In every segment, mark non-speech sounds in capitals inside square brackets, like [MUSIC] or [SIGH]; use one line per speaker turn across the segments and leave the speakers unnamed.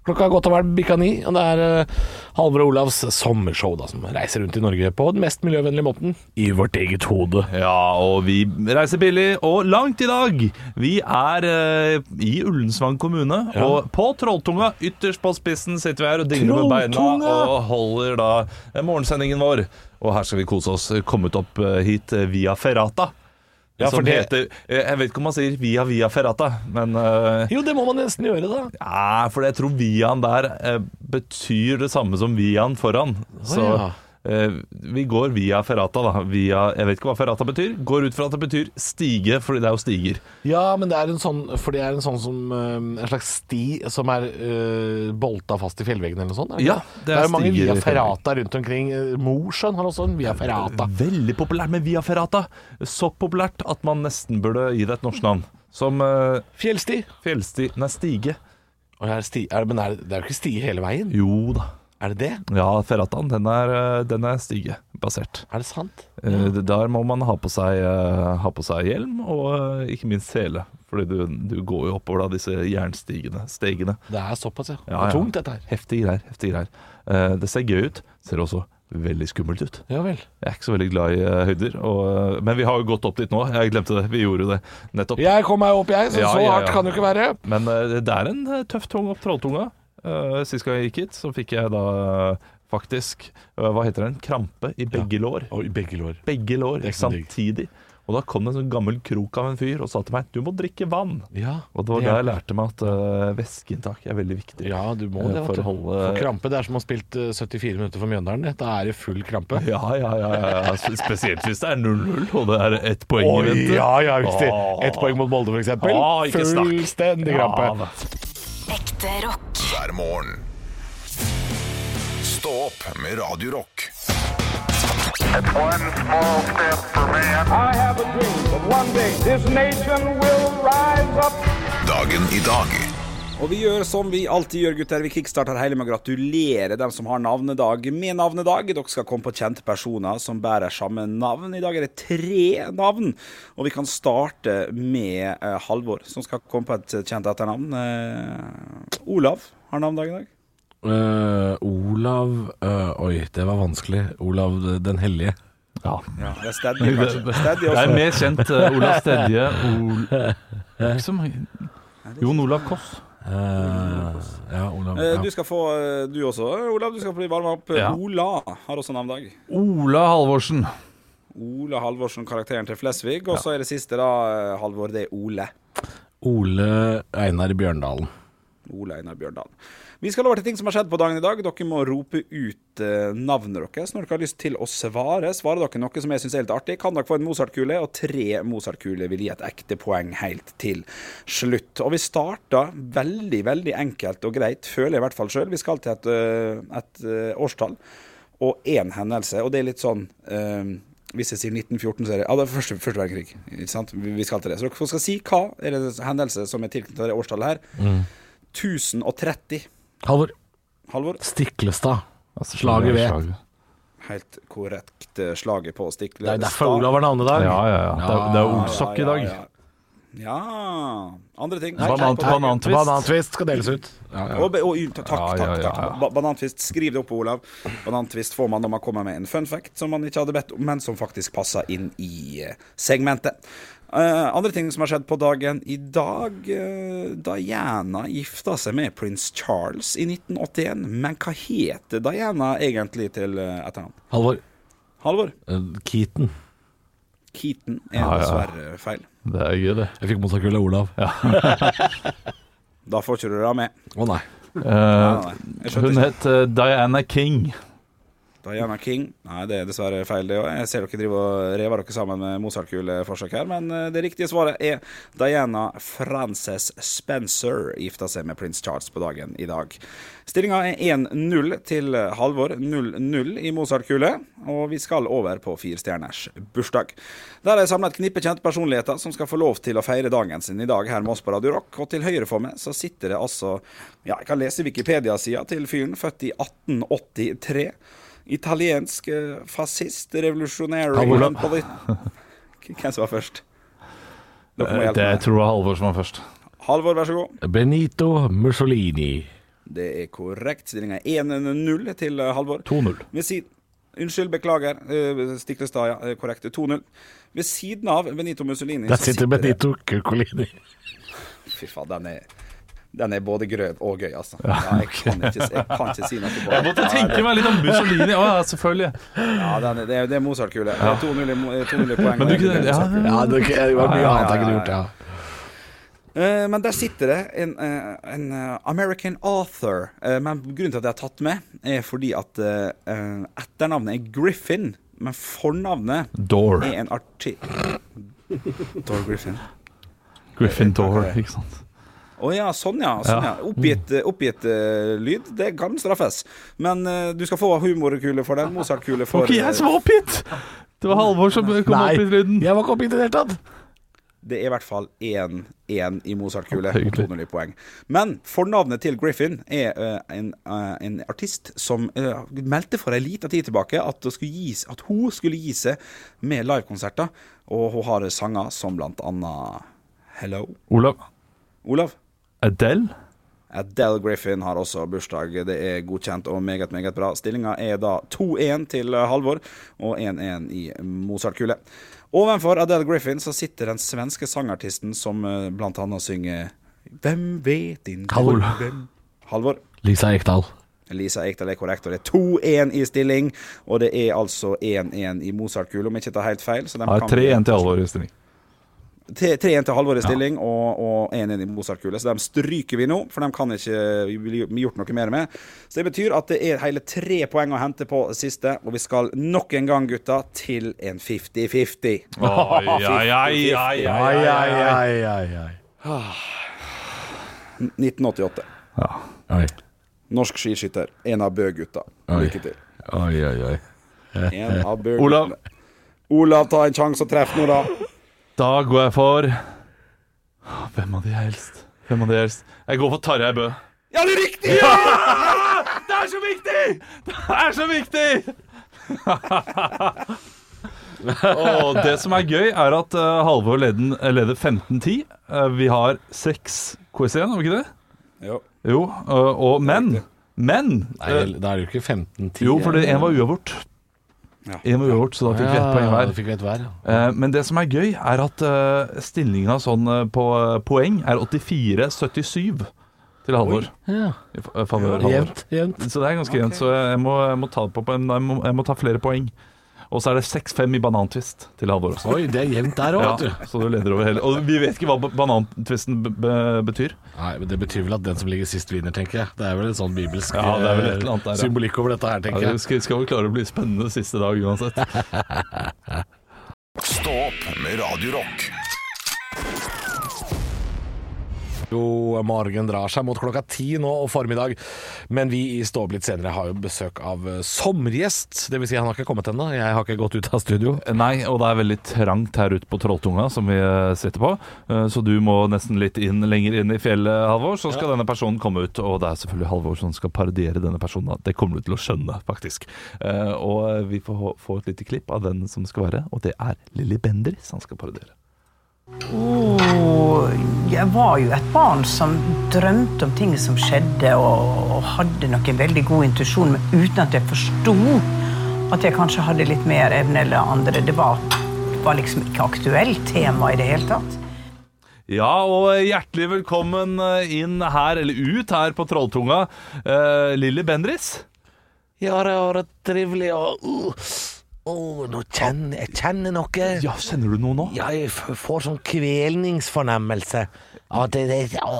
Klokka har gått over bikka ni, og det er eh, Halvor og Olavs sommershow da, som reiser rundt i Norge på den mest miljøvennlige måten. I vårt eget hode.
Ja, og vi reiser billig og langt i dag. Vi er eh, i Ullensvang kommune, og på Trolltunga, ytterst på spissen, sitter vi her og dingler med beina
Trolltunga!
og holder da eh, morgensendingen vår. Og her skal vi kose oss. Kommet opp eh, hit eh, via Ferrata.
Ja, for
som
det-
heter eh, Jeg vet ikke om man sier via via Ferrata, men eh,
Jo, det må man nesten gjøre, da.
ja, for jeg tror viaen der eh, betyr det samme som viaen foran. Så
ja.
eh, vi går via ferrata, da. Via, jeg vet ikke hva ferrata betyr. Går ut fra at det betyr stige, fordi det er jo stiger.
Ja, men det er en sånn For det er en sånn som eh, En slags sti som er eh, bolta fast i fjellveggen eller noe sånt? er det
Ja,
ikke
det
det
er
er, mange
stiger i
via ferrata rundt omkring. Eh, Mosjøen har også en via ferrata.
Veldig populært med via ferrata. Så populært at man nesten burde gi det et norsk navn. Som eh,
Fjellsti.
fjellsti... Nei, stige.
Og her er sti er, det- men er, det- det er jo ikke sti hele veien?
Jo da.
Er det det?
Ja, ferrataen, den er, eh, den er stigebasert.
Er det sant?
Eh, Der må man ha på seg, eh, ha på seg hjelm og eh, ikke minst sele. Fordi du, du går jo oppover da, disse jernstigene. Stegene.
Det er såpass, ja. Det
Ja, ja.
er tungt, dette her.
Heftige greier. heftige greier. Eh, Det ser gøy ut. Ser også veldig skummelt ut.
Ja vel.
Jeg er ikke så veldig glad i eh, høyder. Og, eh, men vi har jo gått opp dit nå. Jeg glemte det. Vi gjorde det nettopp.
Jeg kom meg opp, jeg, så
Ja,
så
ja, ja.
hardt kan det jo ikke være.
Men eh, det er en eh, tøff tung opp trolltunga. Eh, Sist gang jeg gikk hit, så fikk jeg da eh, faktisk eh, Hva heter den? Krampe i begge lår.
Oi, begge lår.
begge lår
Det er ikke noe digg.
samtidig. Og da kom det en sånn gammel krok av en fyr og sa til meg du må drikke vann.
Ja,
Og det var
det
da
er-
jeg lærte meg at eh, væskeinntak er veldig viktig.
ja, du må
Eh,
det.
for
vet du.
å holde-
For krampe, det er som å ha spilt eh, 74 minutter for Mjøndalen. det. Da er det full krampe.
Ja, ja, ja, ja, ja. Spesielt hvis det er 0-0 og det er ett poeng i
Oi,
vente.
ja, ja, riktig.
Åh.
Ett poeng mot Molde, f.eks.
Ah, ikke snakk.
Fullstendig
Ja,
krampe.
da.
Ekte rock.
Hver morgen. Stå opp med Radio Rock.
It's one small step for man.
I have a dream that one day this nation will rise up.
Dagen i dag.
Og vi gjør som vi alltid gjør, gutter. Vi kickstarter hele med å gratulere dem som har navnedag med navnedag. Dere skal komme på kjente personer som bærer samme navn. I dag er det tre navn. Og vi kan starte med eh, Halvor, som skal komme på et kjent etternavn. Eh, Olav har navnedag i dag.
Eh, Olav eh, Oi, det var vanskelig. Olav den hellige.
Ja.
Det er Stedje, kanskje. Stedje
Det er
også.
mer kjent eh, Olav Stedje. Ol... Det er ikke så mange. Jon Olav Koss.
ja, Olav.
Eh, Du skal få, eh, du også, Olav. Du skal bli varma opp.
Ja.
Ola har også navnedag.
Ola Halvorsen.
Ola Halvorsen, karakteren til Flesvig. Og så er det siste, da, eh, Halvor, det er Ole.
Ole Einar Bjørndalen.
Ole Einar Bjørndalen. Vi skal over til ting som har skjedd på dagen i dag. Dere må rope ut eh, navnet deres når dere har lyst til å svare. Svarer dere noe som jeg syns er litt artig, kan dere få en Mozart-kule, og tre Mozart-kuler vil gi et ekte poeng helt til slutt. Og vi starter veldig, veldig enkelt og greit, føler jeg i hvert fall sjøl. Vi skal til et, eh, et eh, årstall og én hendelse, og det er litt sånn eh, hvis jeg sier 1914, så er det Ja, det er første, første verdenskrig. Ikke sant? Vi vi skal til det. Så dere skal si hva er det hendelse som er tilknyttet det årstallet her. 1030.
Halvor.
Halvor,
Stiklestad. Slaget ved.
helt korrekt eh, slaget på Stiklestad.
Det er derfor Olav har navnedag.
Ja, ja, ja. Det er, det er Olsok i dag.
Ja, ja. ja. andre ting.
Banan- Banantvist.
Banantvist skal deles ut.
Og, be- og, y- takk,
Ja,
takk,
ja,
takk,
ja,
takk. Ba- Banantvist, skriv det opp, Olav. Banantvist får man når man kommer med en fun fact som man ikke hadde bedt om, men som faktisk passer inn i eh, segmentet. Eh, andre ting som har skjedd på dagen i dag. eh, Diana gifta seg med prins Charles i 1981. Men hva heter Diana egentlig til eh, etternavn?
Halvor. eh,
Halvor?
Keaton.
Keaton er
Ja, ja.
dessverre feil.
Det er gøy, det.
Jeg fikk motorkule av Olav. Å
Da får ikke du det med.
nei.
Eh,
Nei, nei, jeg skjønte
hun
ikke.
het eh, Diana King.
Diana King. Nei, det er dessverre feil, det òg. Jeg ser dere driver og rever dere sammen med Mozart-kuleforsøk her, men eh, det riktige svaret er Diana Frances Spencer gifta seg med prins Charles på dagen i dag. Stillinga er 1-0 til Halvor, 0-0 i Mozart-kule, og vi skal over på firestjerners bursdag. Der har jeg samla et knippe kjente personligheter som skal få lov til å feire dagen sin i dag her med oss på Radio Rock, og til høyre for meg så sitter det altså Ja, jeg kan lese Wikipedia-sida til fyren, født i 1883. Italiensk eh, fascist, revolusjonær
Ja, hvordan-
[LAUGHS] Hvem som var først? Dere må
Eh,
hjelpe
Det
meg.
tror jeg Halvor som var først.
Halvor, vær så god.
Benito Mussolini.
Det er korrekt. Stillinga er 1-0 til eh, Halvor.
2-0.
Ved siden Unnskyld, beklager. Eh, Stiklestad, ja. eh, Korrekt. 2-0. Ved siden av Benito Mussolini
Der
så
sitter
det-
Benito Cucolini.
Fy faen, den er den er både grøn og gøy, altså. Ja, jeg, kan ikke, jeg kan ikke si noe på
Jeg måtte tenke meg litt om Mussolini. Å ja, selvfølgelig.
Ja, den er, det er, det er Mozart-kule. Det er 2-0 i mo- eh, 2-0 i poeng.
Men du
og
kunne
1-0 i
ja.
Mozart.
Ja, det det var mye annet jeg kunne gjort, ja.
Eh, Men der sitter det en, eh, en eh, American author. Eh, Men grunnen til at jeg har tatt med, er fordi at eh, eh, etternavnet er Griffin, men fornavnet
Door.
er en arti... Dor Griffin.
Griffin Door, ikke sant.
Å ja, sånn ja. Sånn, ja. Oppgitt, oppgitt eh, lyd, det kan straffes. Men eh, du skal få humorkule for den, Mozart-kule
Det
for eh,
var ikke jeg som var oppgitt! Det var Halvor som kom
Nei,
opp i lyden.
jeg var ikke oppgitt i det hele tatt.
Det er i hvert fall 1-1 i Mozart-kule.
Hyggelig.
200 poeng. Men fornavnet til Griffin er eh, en, eh, en artist som eh, meldte for en liten tid tilbake at, det skulle gis, at hun skulle gi seg med livekonserter. Og hun har sanger som blant annet Hello,
Olav.
Olav.
Adele?
Adele Griffin har også bursdag. Det er godkjent og meget, meget bra. Stillinga er da 2-1 til eh, Halvor og 1-1 i Mozart-kule. Ovenfor Adele Griffin så sitter den svenske sangartisten som eh, blant annet synger Hvem vet din
Halvor.
drøm?» Halvor.
Lisa Ekdal.
Lisa Ekdal er korrekt, og det er 2-1 i stilling. Og det er altså 1-1 i Mozart-kule, om jeg ikke tar helt feil. Så de
Ja,
kan
tre igjen til Halvor i stilling.
3-1 til Halvor i stilling og, og 1-1 i Mozart-kule, så dem stryker vi nå. For dem kan ikke vi bli gjort noe mer med. Så det betyr at det er hele tre poeng å hente på siste, og vi skal nok en gang, gutta, til en
[LAUGHS]
50-50.
Oi, oi, oi, oi, oi, oi, oi.
ai, ai.
1988.
Oi,
Norsk skiskytter. En av Bø-gutta.
Oi.
Lykke til.
oi, oi. oi.
En av Bø
Olav.
Olav, ta en sjanse og treff nå, da.
Da går jeg for Hvem av de helst? Hvem av de helst? Jeg går for Tarjei Bø.
Ja, det er riktig!
[LAUGHS] Det er så viktig! Det er så viktig! [LAUGHS] og det som er gøy, er at eh, Halvor leden, leder 15-10. Eh, vi har seks quiz igjen, har vi ikke det?
Jo.
Jo, eh, og men Men!
Nei,
eh,
da er det jo ikke 15-10.
jo, fordi én var uavgjort.
Ja.
Én var uavgjort, så da fikk vi ett poeng hver.
eh, Ja, fikk vi ett hver. ja.
Eh, Men det som er gøy, er at uh, stillinga sånn eh, på eh, poeng er 84-77 til Halvor.
Ja.
I fa- eh, favør Halvor.
Jevnt, jevnt.
Så det er ganske jevnt, så jeg må, jeg, må ta det på, på en, jeg, må, jeg må ta flere poeng. Og så er det 6-5 i banantvist til Halvor også.
Oi, det er jevnt der òg,
Ja,
vet du.
så du leder over hele Og vi vet ikke hva b- banantvisten b b betyr.
Nei, men Det betyr vel at den som ligger sist, vinner, tenker jeg. Det er vel en sånn bibelsk
Ja, det er vel et
eh,
eller annet der, ja.
symbolikk over dette her, tenker
Ja, det
jeg.
skal, skal vel klare å bli spennende siste dag uansett.
Stå opp med Radio Rock.
Jo, morgen drar seg mot klokka ti nå og formiddag, men vi i Stå opp litt senere har jo besøk av eh, sommergjest. Det vil si, han har ikke kommet ennå. Jeg har ikke gått ut av studio.
Nei, og det er veldig trangt her ute på Trolltunga, som vi eh, sitter på. Eh, Så du må nesten litt inn, lenger inn i fjellet, Halvor, så skal denne personen komme ut. Og det er selvfølgelig Halvor som skal parodiere denne personen. da. Det kommer du til å skjønne, faktisk. Eh, Og eh, vi får hå- få et lite klipp av den som skal være, og det er Lilly Bendriss han skal parodiere.
Og jeg var jo et barn som drømte om ting som skjedde, og, og hadde nok en veldig god intuisjon, men uten at jeg forsto at jeg kanskje hadde litt mer evne eller andre. Det var, var liksom ikke aktuelt tema i det hele tatt.
Ja, og hjertelig velkommen eh, inn her, eller ut her på Trolltunga, eh, Lilly Bendriss.
Ja, det har vært trivelig og uh, oh, nå kjenner, Jeg kjenner noe.
Ja, kjenner du noe nå?
Ja, jeg f- får sånn kvelningsfornemmelse. Av at det, det, å,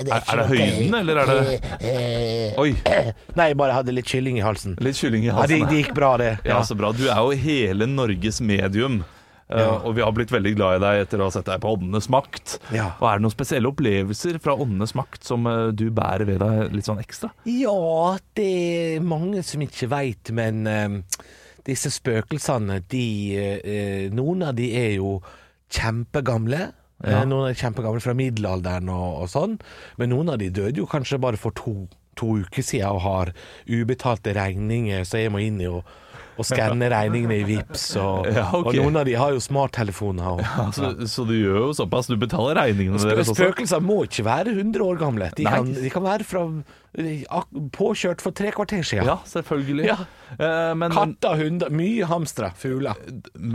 det
Er- er det høyden, eller er det-
det
Oi,
Eh, Nei, jeg bare hadde litt kylling i halsen.
litt kylling i
Ja,
halsen.
det,
her.
det gikk bra, det.
Ja, så bra. Du er jo hele Norges medium. Eh, og vi har blitt veldig glad i deg etter å ha sett deg på Åndenes makt.
Ja.
Og Er det noen spesielle opplevelser fra Åndenes makt som eh, du bærer ved deg litt sånn ekstra?
Ja, det er mange som ikke veit, men eh, disse spøkelsene, de eh, Noen av de er jo kjempegamle. Eh, Noen er kjempegamle fra middelalderen og, og sånn, men noen av de døde jo kanskje bare for to to uker siden og har ubetalte regninger, så jeg må inn i og, og skanne regningene i VIPs og,
Ja, ok.
og noen av de har jo smarttelefoner. Og,
Så, så du gjør jo såpass. Du betaler regningene
Spø-
deres også.
Spøkelser må ikke være 100 år gamle. De
sånn. Nei.
kan, de kan være fra, eh, ak- påkjørt for tre kvarter siden.
Ja, selvfølgelig.
Ja.
Eh, men,
Katter, hunder, mye hamstere, fugler.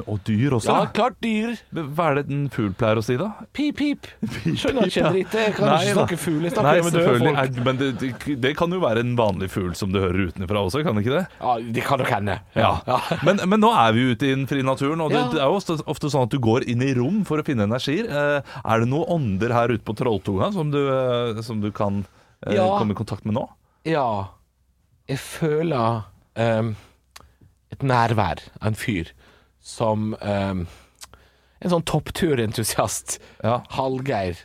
og dyr også.
Ja,
da.
klart dyr.
Men Hva er det en fugl pleier å si, da?
Pip,
[LAUGHS]
pip. [LAUGHS] Skjønner ikke
Ja.
dritt. Jeg kan
Nei,
ikke
da.
snakke fugl. Jeg
Nei,
snakker med døde
selvfølgelig.
folk.
Er- Men det, det, det kan jo være en vanlig fugl som du hører utenfra også, kan det ikke det?
Ja, de kan nok hende.
Ja. [LAUGHS] Men, men nå er vi jo ute i den frie naturen, og det,
Ja.
det er jo ofte, ofte sånn at du går inn i rom for å finne energier. Eh, er det noen ånder her ute på Trolltunga som du, eh, som du kan eh,
Ja.
komme i kontakt med nå?
[LAUGHS] Ja. Jeg føler ehm, et nærvær av en fyr som ehm, En sånn toppturentusiast.
Ja.
Hallgeir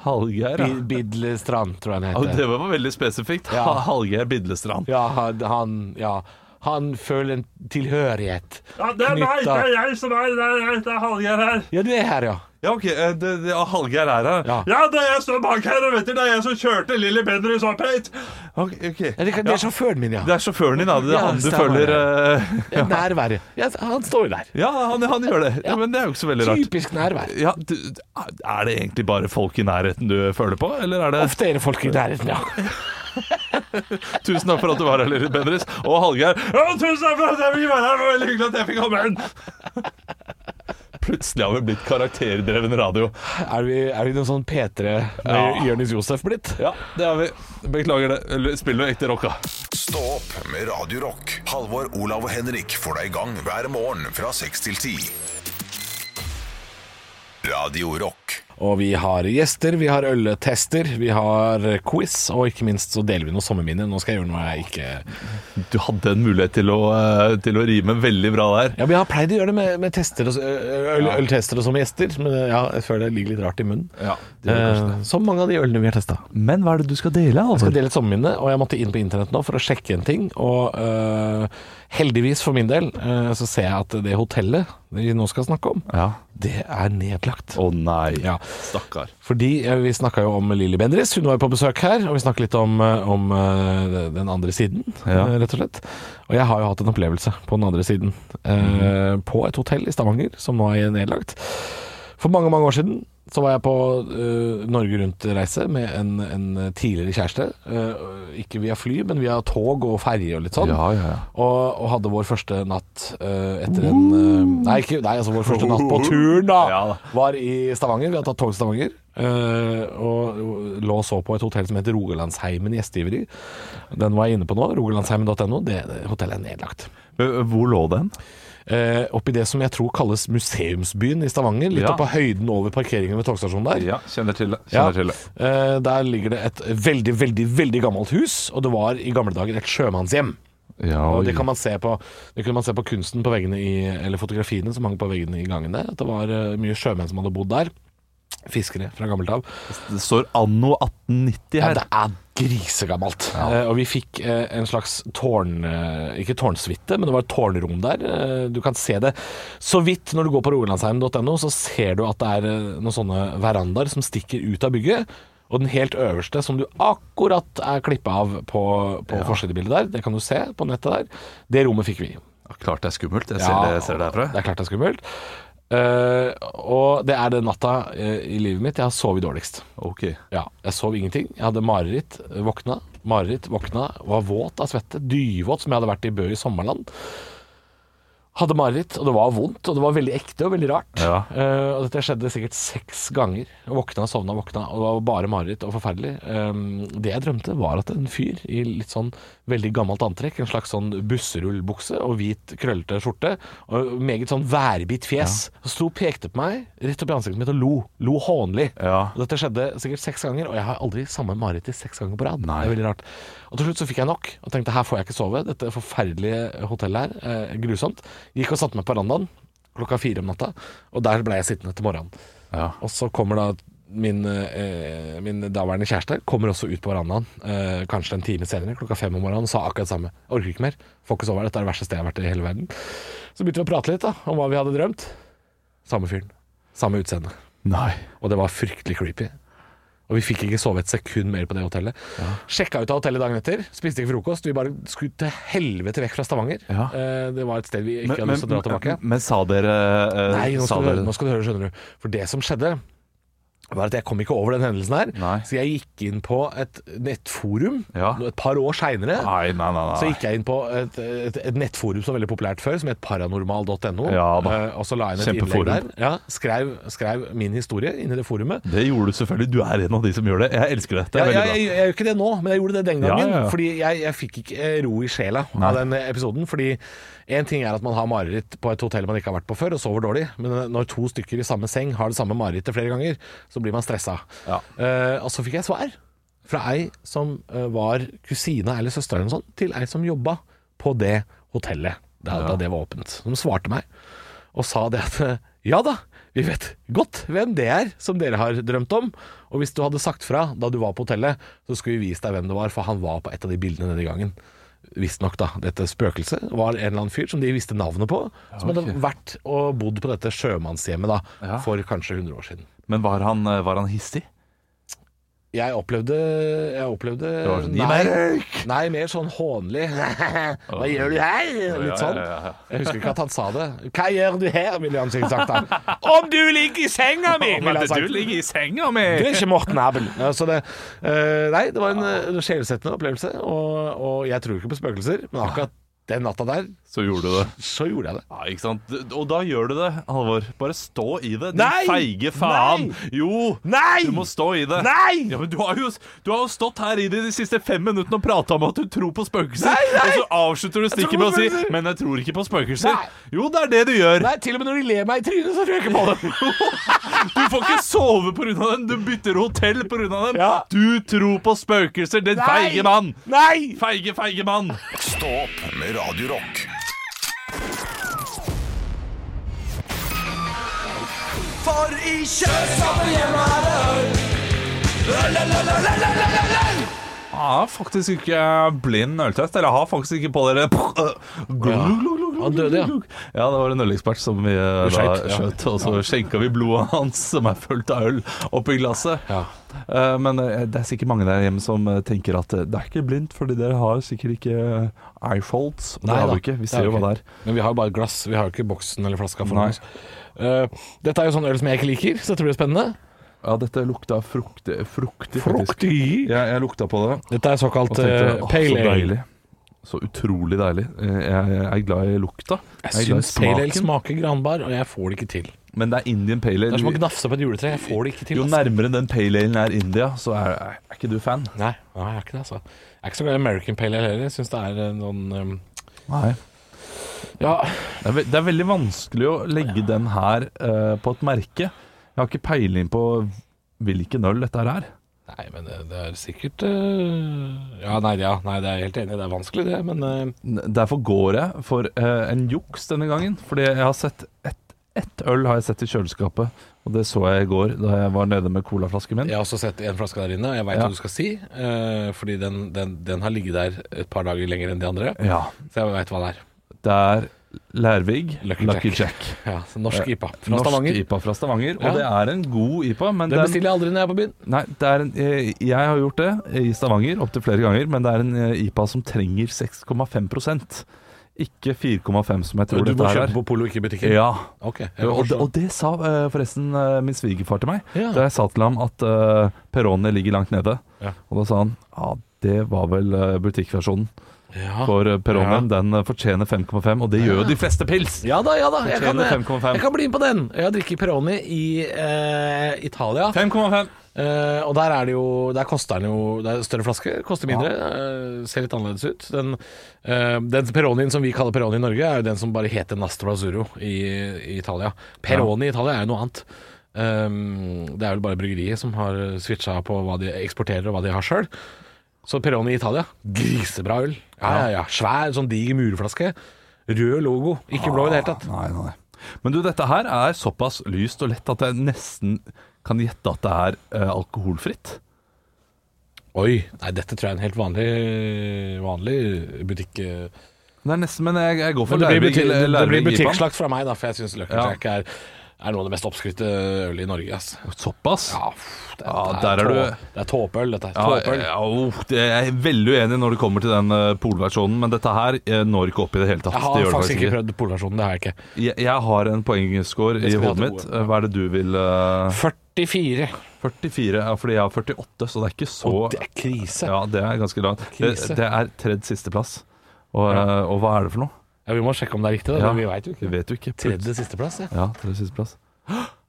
Hallgeir, ja.
Bi- Bidlestrand, tror jeg han
Ja,
heter.
det var veldig spesifikt.
Ja.
Ha- Hallgeir Bidlestrand.
Ja, han- han, ja. han føler en tilhørighet.
Ja, det er meg!
Knyttet-
Det er jeg som er Det er, det er Hallgeir her.
Ja, du er her, ja.
Ja, ok, eh, det, det, ja, Hallgeir er her.
Ja.
det er jeg som er bak her, og vet du, det er jeg som kjørte Lilly Bendriss opp hit. Ok, ok.
ja det, kan, det er sjåføren min, ja.
Det er sjåføren din, da. Det er
Ja,
han du
stemmer
føler eh,
Det er Nærværet. Ja, han står jo der.
Ja, han, han gjør det. Ja, men det er jo ikke så veldig rart.
Typisk nærvær.
Ja, du, er det egentlig bare folk i nærheten du føler på, eller er det
Ofte er det folk i nærheten, ja.
Tusen takk for at du var her, Lilly Bendriss. Og Hallgeir. Ja, tusen takk for at jeg fikk være her! Det var veldig hyggelig at jeg fikk komme inn! Plutselig har vi blitt karakterdreven radio.
Er vi, er vi noen sånn P3 med
Ja.
Jonis Josef blitt?
Ja, det har vi. Beklager det. Eller, Spill noe ekte rock, da.
Stå opp med Radio Rock. Halvor, Olav og Henrik får deg i gang hver morgen fra 6 til 10. Radio Rock.
Og vi har gjester, vi har øltester, vi har quiz, og ikke minst så deler vi noen sommerminner. Nå skal jeg gjøre noe jeg ikke
Du hadde en mulighet til å, eh, til å rime veldig bra der.
Ja, men jeg har pleid å gjøre det med, med tester og, s- øl, øltester og som gjester, men ja, jeg føler det ligger litt rart i munnen.
Ja, det gjør kanskje
eh, som mange av de ølene vi har testa.
Men hva er det du skal dele?
Jeg
Altså?
skal dele et sommerminne, og jeg måtte inn på internett nå for å sjekke en ting. Og eh, heldigvis for min del eh, så ser jeg at det hotellet vi nå skal snakke om,
Ja.
det er nedlagt.
Å nei.
Ja.
Stakkar.
Fordi eh, vi snakka jo om Lilly Bendriss, hun var jo på besøk her. Og vi snakka litt om, eh, om eh, den andre siden,
Ja.
eh, rett og slett. Og jeg har jo hatt en opplevelse på den andre siden. eh,
Mhm.
På et hotell i Stavanger som nå er nedlagt. For mange, mange år siden så var jeg på eh, Norge Rundt-reise med en, en tidligere kjæreste. Eh, ikke via fly, men via tog og ferje og litt sånn.
Ja, ja, ja.
Og, og hadde vår første natt eh, etter en eh, nei, ikke, nei, altså vår første natt på turen, da!
Ja, da.
Var i Stavanger. Vi hadde tatt tog til Stavanger. eh, og lå og så på et hotell som het Rogalandsheimen gjestgiveri. Den var jeg inne på nå. Rogalandsheimen.no. Det det hotellet er nedlagt.
Men, eh, Hvor lå den?
Eh, oppi det som jeg tror kalles museumsbyen i Stavanger. Litt
Ja.
opp på høyden over parkeringen ved togstasjonen der.
Ja, kjenner til det.
Ja.
Kjenner til det.
Eh, der ligger det et veldig, veldig veldig gammelt hus, og det var i gamle dager et sjømannshjem.
Ja,
Og
oi.
det, kan man se på, det kunne man se på kunsten på veggene i, eller fotografiene som hang på veggene i gangen der. At det var eh, mye sjømenn som hadde bodd der. Fiskere fra gammelt av.
Det står anno 1890
Ja,
her.
det er grisegammelt. Eh, og vi fikk eh, en slags tårn... Eh, ikke tårnsuite, men det var et tårnrom der. Eh, du kan se det så vidt når du går på rogalandsheimen.no, så ser du at det er eh, noen sånne verandaer som stikker ut av bygget. Og den helt øverste, som du akkurat er klippa av på, på forsidebildet der, det kan du se på nettet der, det rommet fikk vi.
Ja, Klart det er skummelt. Jeg
Ja,
ser, det, jeg ser det herfra.
Det er klart det er skummelt. Eh, og det er den natta eh, i livet mitt jeg har sovet dårligst.
Ok.
Ja, jeg sov ingenting. Jeg hadde mareritt, eh, våkna. Mareritt, våkna, var våt av svette. Dyvåt, som jeg hadde vært i Bø i sommerland. Hadde mareritt, og det var vondt, og det var veldig ekte og veldig rart.
Ja.
Eh, og dette skjedde sikkert seks ganger. Jeg Våkna, sovna, våkna, og det var bare mareritt og forferdelig. Eh, det jeg drømte, var at en fyr i litt sånn veldig gammelt antrekk, en slags sånn busserullbukse og hvit, krøllete skjorte, og meget sånn værbitt fjes, sto og pekte på meg rett opp i ansiktet mitt og lo. Lo hånlig.
Ja.
Og dette skjedde sikkert seks ganger, og jeg har aldri samme mareritt i seks ganger på rad.
Nei.
Det er veldig rart. Og til slutt så fikk jeg nok, og tenkte her får jeg ikke sove. Dette forferdelige hotellet her, eh, grusomt. Gikk og satte meg på verandaen klokka fire om natta, og der ble jeg sittende til morgenen.
Ja.
Og så kommer da min, eh, min daværende kjæreste kommer også ut på verandaen eh, kanskje en time senere, klokka fem om morgenen, og sa akkurat det samme. Orker ikke mer. Får ikke sove her. Dette er det verste stedet jeg har vært i hele verden. Så begynte vi å prate litt da, om hva vi hadde drømt. Samme fyren. Samme utseende.
Nei.
Og det var fryktelig creepy. Og vi fikk ikke sove et sekund mer på det hotellet. Sjekka ut av hotellet dagen etter, spiste ikke frokost. Vi bare skulle til helvete vekk fra Stavanger.
Ja.
Eh, Det var et sted vi ikke hadde lyst til å dra tilbake.
men sa dere eh,
Nei, nå
sa
skal, du høre,
dere-
nå skal du høre, skjønner du. For det som skjedde, var at jeg kom ikke over den hendelsen her.
Nei.
Så jeg gikk inn på et nettforum
Ja.
et par år seinere.
Nei, nei, nei. nei.
Så gikk jeg inn på et, et, et nettforum som var veldig populært før, som het paranormal.no.
Ja da.
Eh, og så la jeg inn et innlegg der.
Kjempeforum.
Ja, skrev, skrev min historie inni det forumet.
Det gjorde du selvfølgelig. Du er en av de som gjør det. Jeg elsker det. Det
Ja,
er
jeg,
veldig
jeg, jeg gjør ikke det nå, men jeg gjorde det den
Ja,
gangen.
ja, ja.
Fordi jeg, jeg fikk ikke eh, ro i sjela
Nei.
av den eh, episoden. Fordi én ting er at man har mareritt på et hotell man ikke har vært på før, og sover dårlig. Men eh, når to stykker i samme seng har det samme marerittet flere ganger, så blir man stressa.
Ja.
Eh, og så fikk jeg svar fra ei som eh, var kusina eller søster eller noe sånt, til ei som jobba på det hotellet da, da det var åpent. Som svarte meg og sa det at [LAUGHS] eh, ja da, vi vet godt hvem det er som dere har drømt om. Og hvis du hadde sagt fra da du var på hotellet, så skulle vi vise deg hvem det var, for han var på et av de bildene denne gangen. Visstnok, da. Dette spøkelset var en eller annen fyr som de visste navnet på, som
ok.
hadde vært og bodd på dette sjømannshjemmet da,
Ja.
for kanskje 100 år siden.
bra. Men var han, eh, var han hissig?
Jeg opplevde, jeg opplevde
Det var sånn, «Gi meg
nei, nei, mer sånn
[LAUGHS]
hånlig. Hva gjør du her? Litt sånn.
ja, ja.
Jeg husker ikke at han sa det. Hva gjør du her, ville han sikkert sagt.
[LAUGHS]
da. Om du ligger i senga mi! ville han sagt.
ligger i senga mi!
Du er ikke Morten Abel. [LAUGHS] Ja, Så det, eh, nei, det var en eh, sjelsettende opplevelse, og, og jeg tror ikke på spøkelser, men akkurat den natta der,
[LAUGHS] Så gjorde du det.
så gjorde jeg det.
Ja, ikke sant? Og da gjør du det, Halvor. Bare stå i det. Din
Nei!
feige faen.
Nei!
Jo!
Nei!
Du må stå i det.
Nei!
Ja, men du har, jo, du har jo stått her i de, de siste fem minuttene og prata om at du tror på spøkelser,
Nei, nei!
og så avslutter du stikket
tror
med
på
å si
spøkelser.
'men jeg tror ikke på spøkelser'.
Nei.
Jo, det er det du gjør.
Nei, til og med når de ler meg i trynet, så tror jeg ikke på det.
Du får ikke sove pga. dem. Du bytter hotell pga. dem.
Ja.
Du tror på spøkelser, den feige mann.
[LAUGHS] Nei!
Feige, feige mann.
Stå opp med Radio Rock.
Jeg har faktisk ikke blind øltest. Eller jeg har faktisk ikke på dere
Han døde, ja.
Ja, det var en ølekspert som vi eh, da
skjøt, ja.
skjøt. Og så skjenka vi blodet hans, som er fullt av øl, oppi glasset.
Ja.
Eh, Men eh, det er sikkert mange der hjemme som eh, tenker at eh, det er ikke blindt, fordi dere har sikkert ikke eyefolds. Og det har
da,
vi ikke. Vi
har
ser jo
vi
hva det
ikke.
er.
Men vi har jo bare et glass, vi har jo ikke boksen eller flaska
Nei.
foran oss. Eh, dette er jo sånn øl som jeg ikke liker, så dette blir spennende.
Ja, dette lukta fruktig. Fruktig. faktisk.
Fruktig!
Ja, jeg lukta på det.
Dette er såkalt eh,
«Åh,
pale
Så
ale.
deilig. Så utrolig deilig. Eh, Jeg, jeg er glad i lukta.
Jeg
er glad i
syns pale ale
smaken.
smaker granbar, og jeg får det ikke til. Det
Men det er Indian pale
er som å
ale.
gnafse på et juletre. Jeg får det ikke til.
Jo
altså.
nærmere den pale alen er India, så er, er ikke du fan.
Nei, nei, jeg er ikke det, altså. Jeg er ikke så glad i American pale ale heller. Jeg syns det er eh, noen um,
Nei.
Ja,
Det er, ve det er veldig vanskelig å legge den her eh, på et merke. Jeg har ikke peiling på hvilken øl dette her er.
nei, men det, det er sikkert eh, Ja, nei, ja, nei, det er jeg helt enig i. Det er vanskelig, det, men eh,
N- Derfor går jeg for eh, en juks denne gangen. Fordi jeg har sett ett ett øl har jeg sett i kjøleskapet, og det så jeg i går da jeg var nede med colaflasken min.
Jeg har også sett en flaske der inne, og jeg veit
Ja.
hva du skal si. eh, fordi den, den, den har ligget der et par dager lenger enn de andre.
Ja,
Så jeg veit hva det er.
Det er Lærvig
Lucky Jack. Ja, så Eh, norsk IPA fra
Norsk
Stavanger.
IPA fra Stavanger. Og
Ja.
det er en god IPA, men
Den
den,
bestiller jeg aldri når jeg er på byen.
Nei, det er en, eh, jeg har gjort det i Stavanger opptil flere ganger, men det er en eh, IPA som trenger 6,5 Ikke 4,5 som jeg tror
Du må
dette her
kjøpe
er.
på polet, ikke i butikken.
Ja.
Ok, jeg
Og, det-
forstår.
og det sa eh, forresten eh, min svigerfar til meg
Ja.
da jeg sa til ham at uh, Peroni ligger langt nede.
Ja.
Og da sa han ja, det var vel eh, butikkversjonen
Ah. ja. Ah.
for uh, Peronien. Den eh, fortjener 5,5, og det gjør jo de fleste pils!
ja da, ja da. Jeg kan, eh,
Fortjener 5,5.
jeg kan bli med på den. Jeg har drukket Peroni i eh, Italia.
5,5!
Eh, og der er det jo Der koster den jo Det er større flaske, koster mindre. eh, ser litt annerledes ut. Den, eh, den Peronien som vi kaller Peroni i Norge, er jo den som bare heter Nastro Azzurro i, i Italia. Peroni i Italia er jo noe annet. Ehm, det er vel bare bryggeriet som har switcha på hva de eksporterer og hva de har sjøl. Så Peroni i Italia, grisebra øl. Ja, ja, ja. Svær, sånn diger murflaske. Rød logo, ikke blå i det hele tatt.
Nei, nei, nei. Men du, dette her er såpass lyst og lett at jeg nesten kan gjette at det er eh, alkoholfritt.
Oi, nei, dette tror jeg er en helt vanlig, vanlig butikk... eh,
Det er nesten, men jeg, jeg går for
Men det blir,
Lærvig-
buti- det
Lærvig
blir
Ipan.
butikkslakt fra meg, da, for jeg syns Lucky
Ja.
Jack er er noe av det mest oppskrytte ølet i Norge. Ass.
Såpass?
Ja, pff, det,
Ja,
det
der er
tå-
du-
Det er tåpeøl, dette. her.
Ja,
Tåpeøl.
ja, oh, det jeg er veldig uenig når det kommer til den eh, polversjonen, men dette her eh, når ikke opp i det hele tatt.
Jeg
det
har
gjør det
faktisk
faktisk
ikke prøvd polversjonen. Det har jeg ikke.
Jeg, jeg har en poengscore i
skal vi ha
hodet
til
mitt.
gode.
Eh, Hva er det du vil eh,
44.
44? Ja, fordi jeg har 48, så det er ikke så
Og det er krise.
Ja, det er ganske langt. Det,
Krise.
det er tredje sisteplass. Og, eh, og hva er det for noe?
Ja, vi må sjekke om det er riktig. Da.
Ja.
men Vi vet jo ikke.
Vi vet jo ikke.
Tredje sisteplass, ja.
Ja, tredje sisteplass.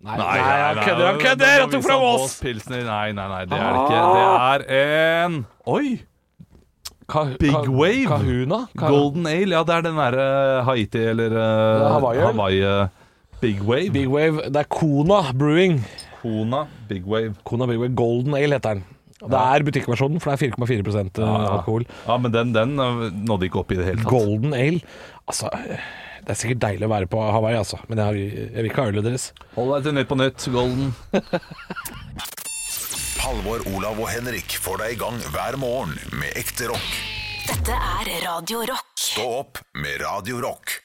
Nei, nei, han kødder, han kødder! Han tok fra Voss! Ah!
Pilsner. Sånn Nei, nei, nei, det er det ikke. Det er en Oi!
Ka-
Big
ka-
Wave.
Kahuna? Ka-
Golden Ale, ja, det er den derre Haiti eller eh,
Hawaii, eller?
Hawaii eh, Big Wave.
Big Wave. Det er Kona Brewing.
Kona Big Wave.
Kona Big Wave Golden Ale heter den. Og Det er butikkversjonen, for det er 4,4 eh, alkohol.
Ja, men den, den eh, nådde ikke opp i det hele tatt.
Golden Ale. Altså, det er sikkert deilig å være på Hawaii, altså. Men jeg, har- jeg vil ikke ha ølet deres.
Hold deg til Nytt på Nytt, Golden.
Halvor, Olav og Henrik får deg i gang hver morgen med ekte rock.
Dette er Radio Rock.
Stå opp med Radio Rock.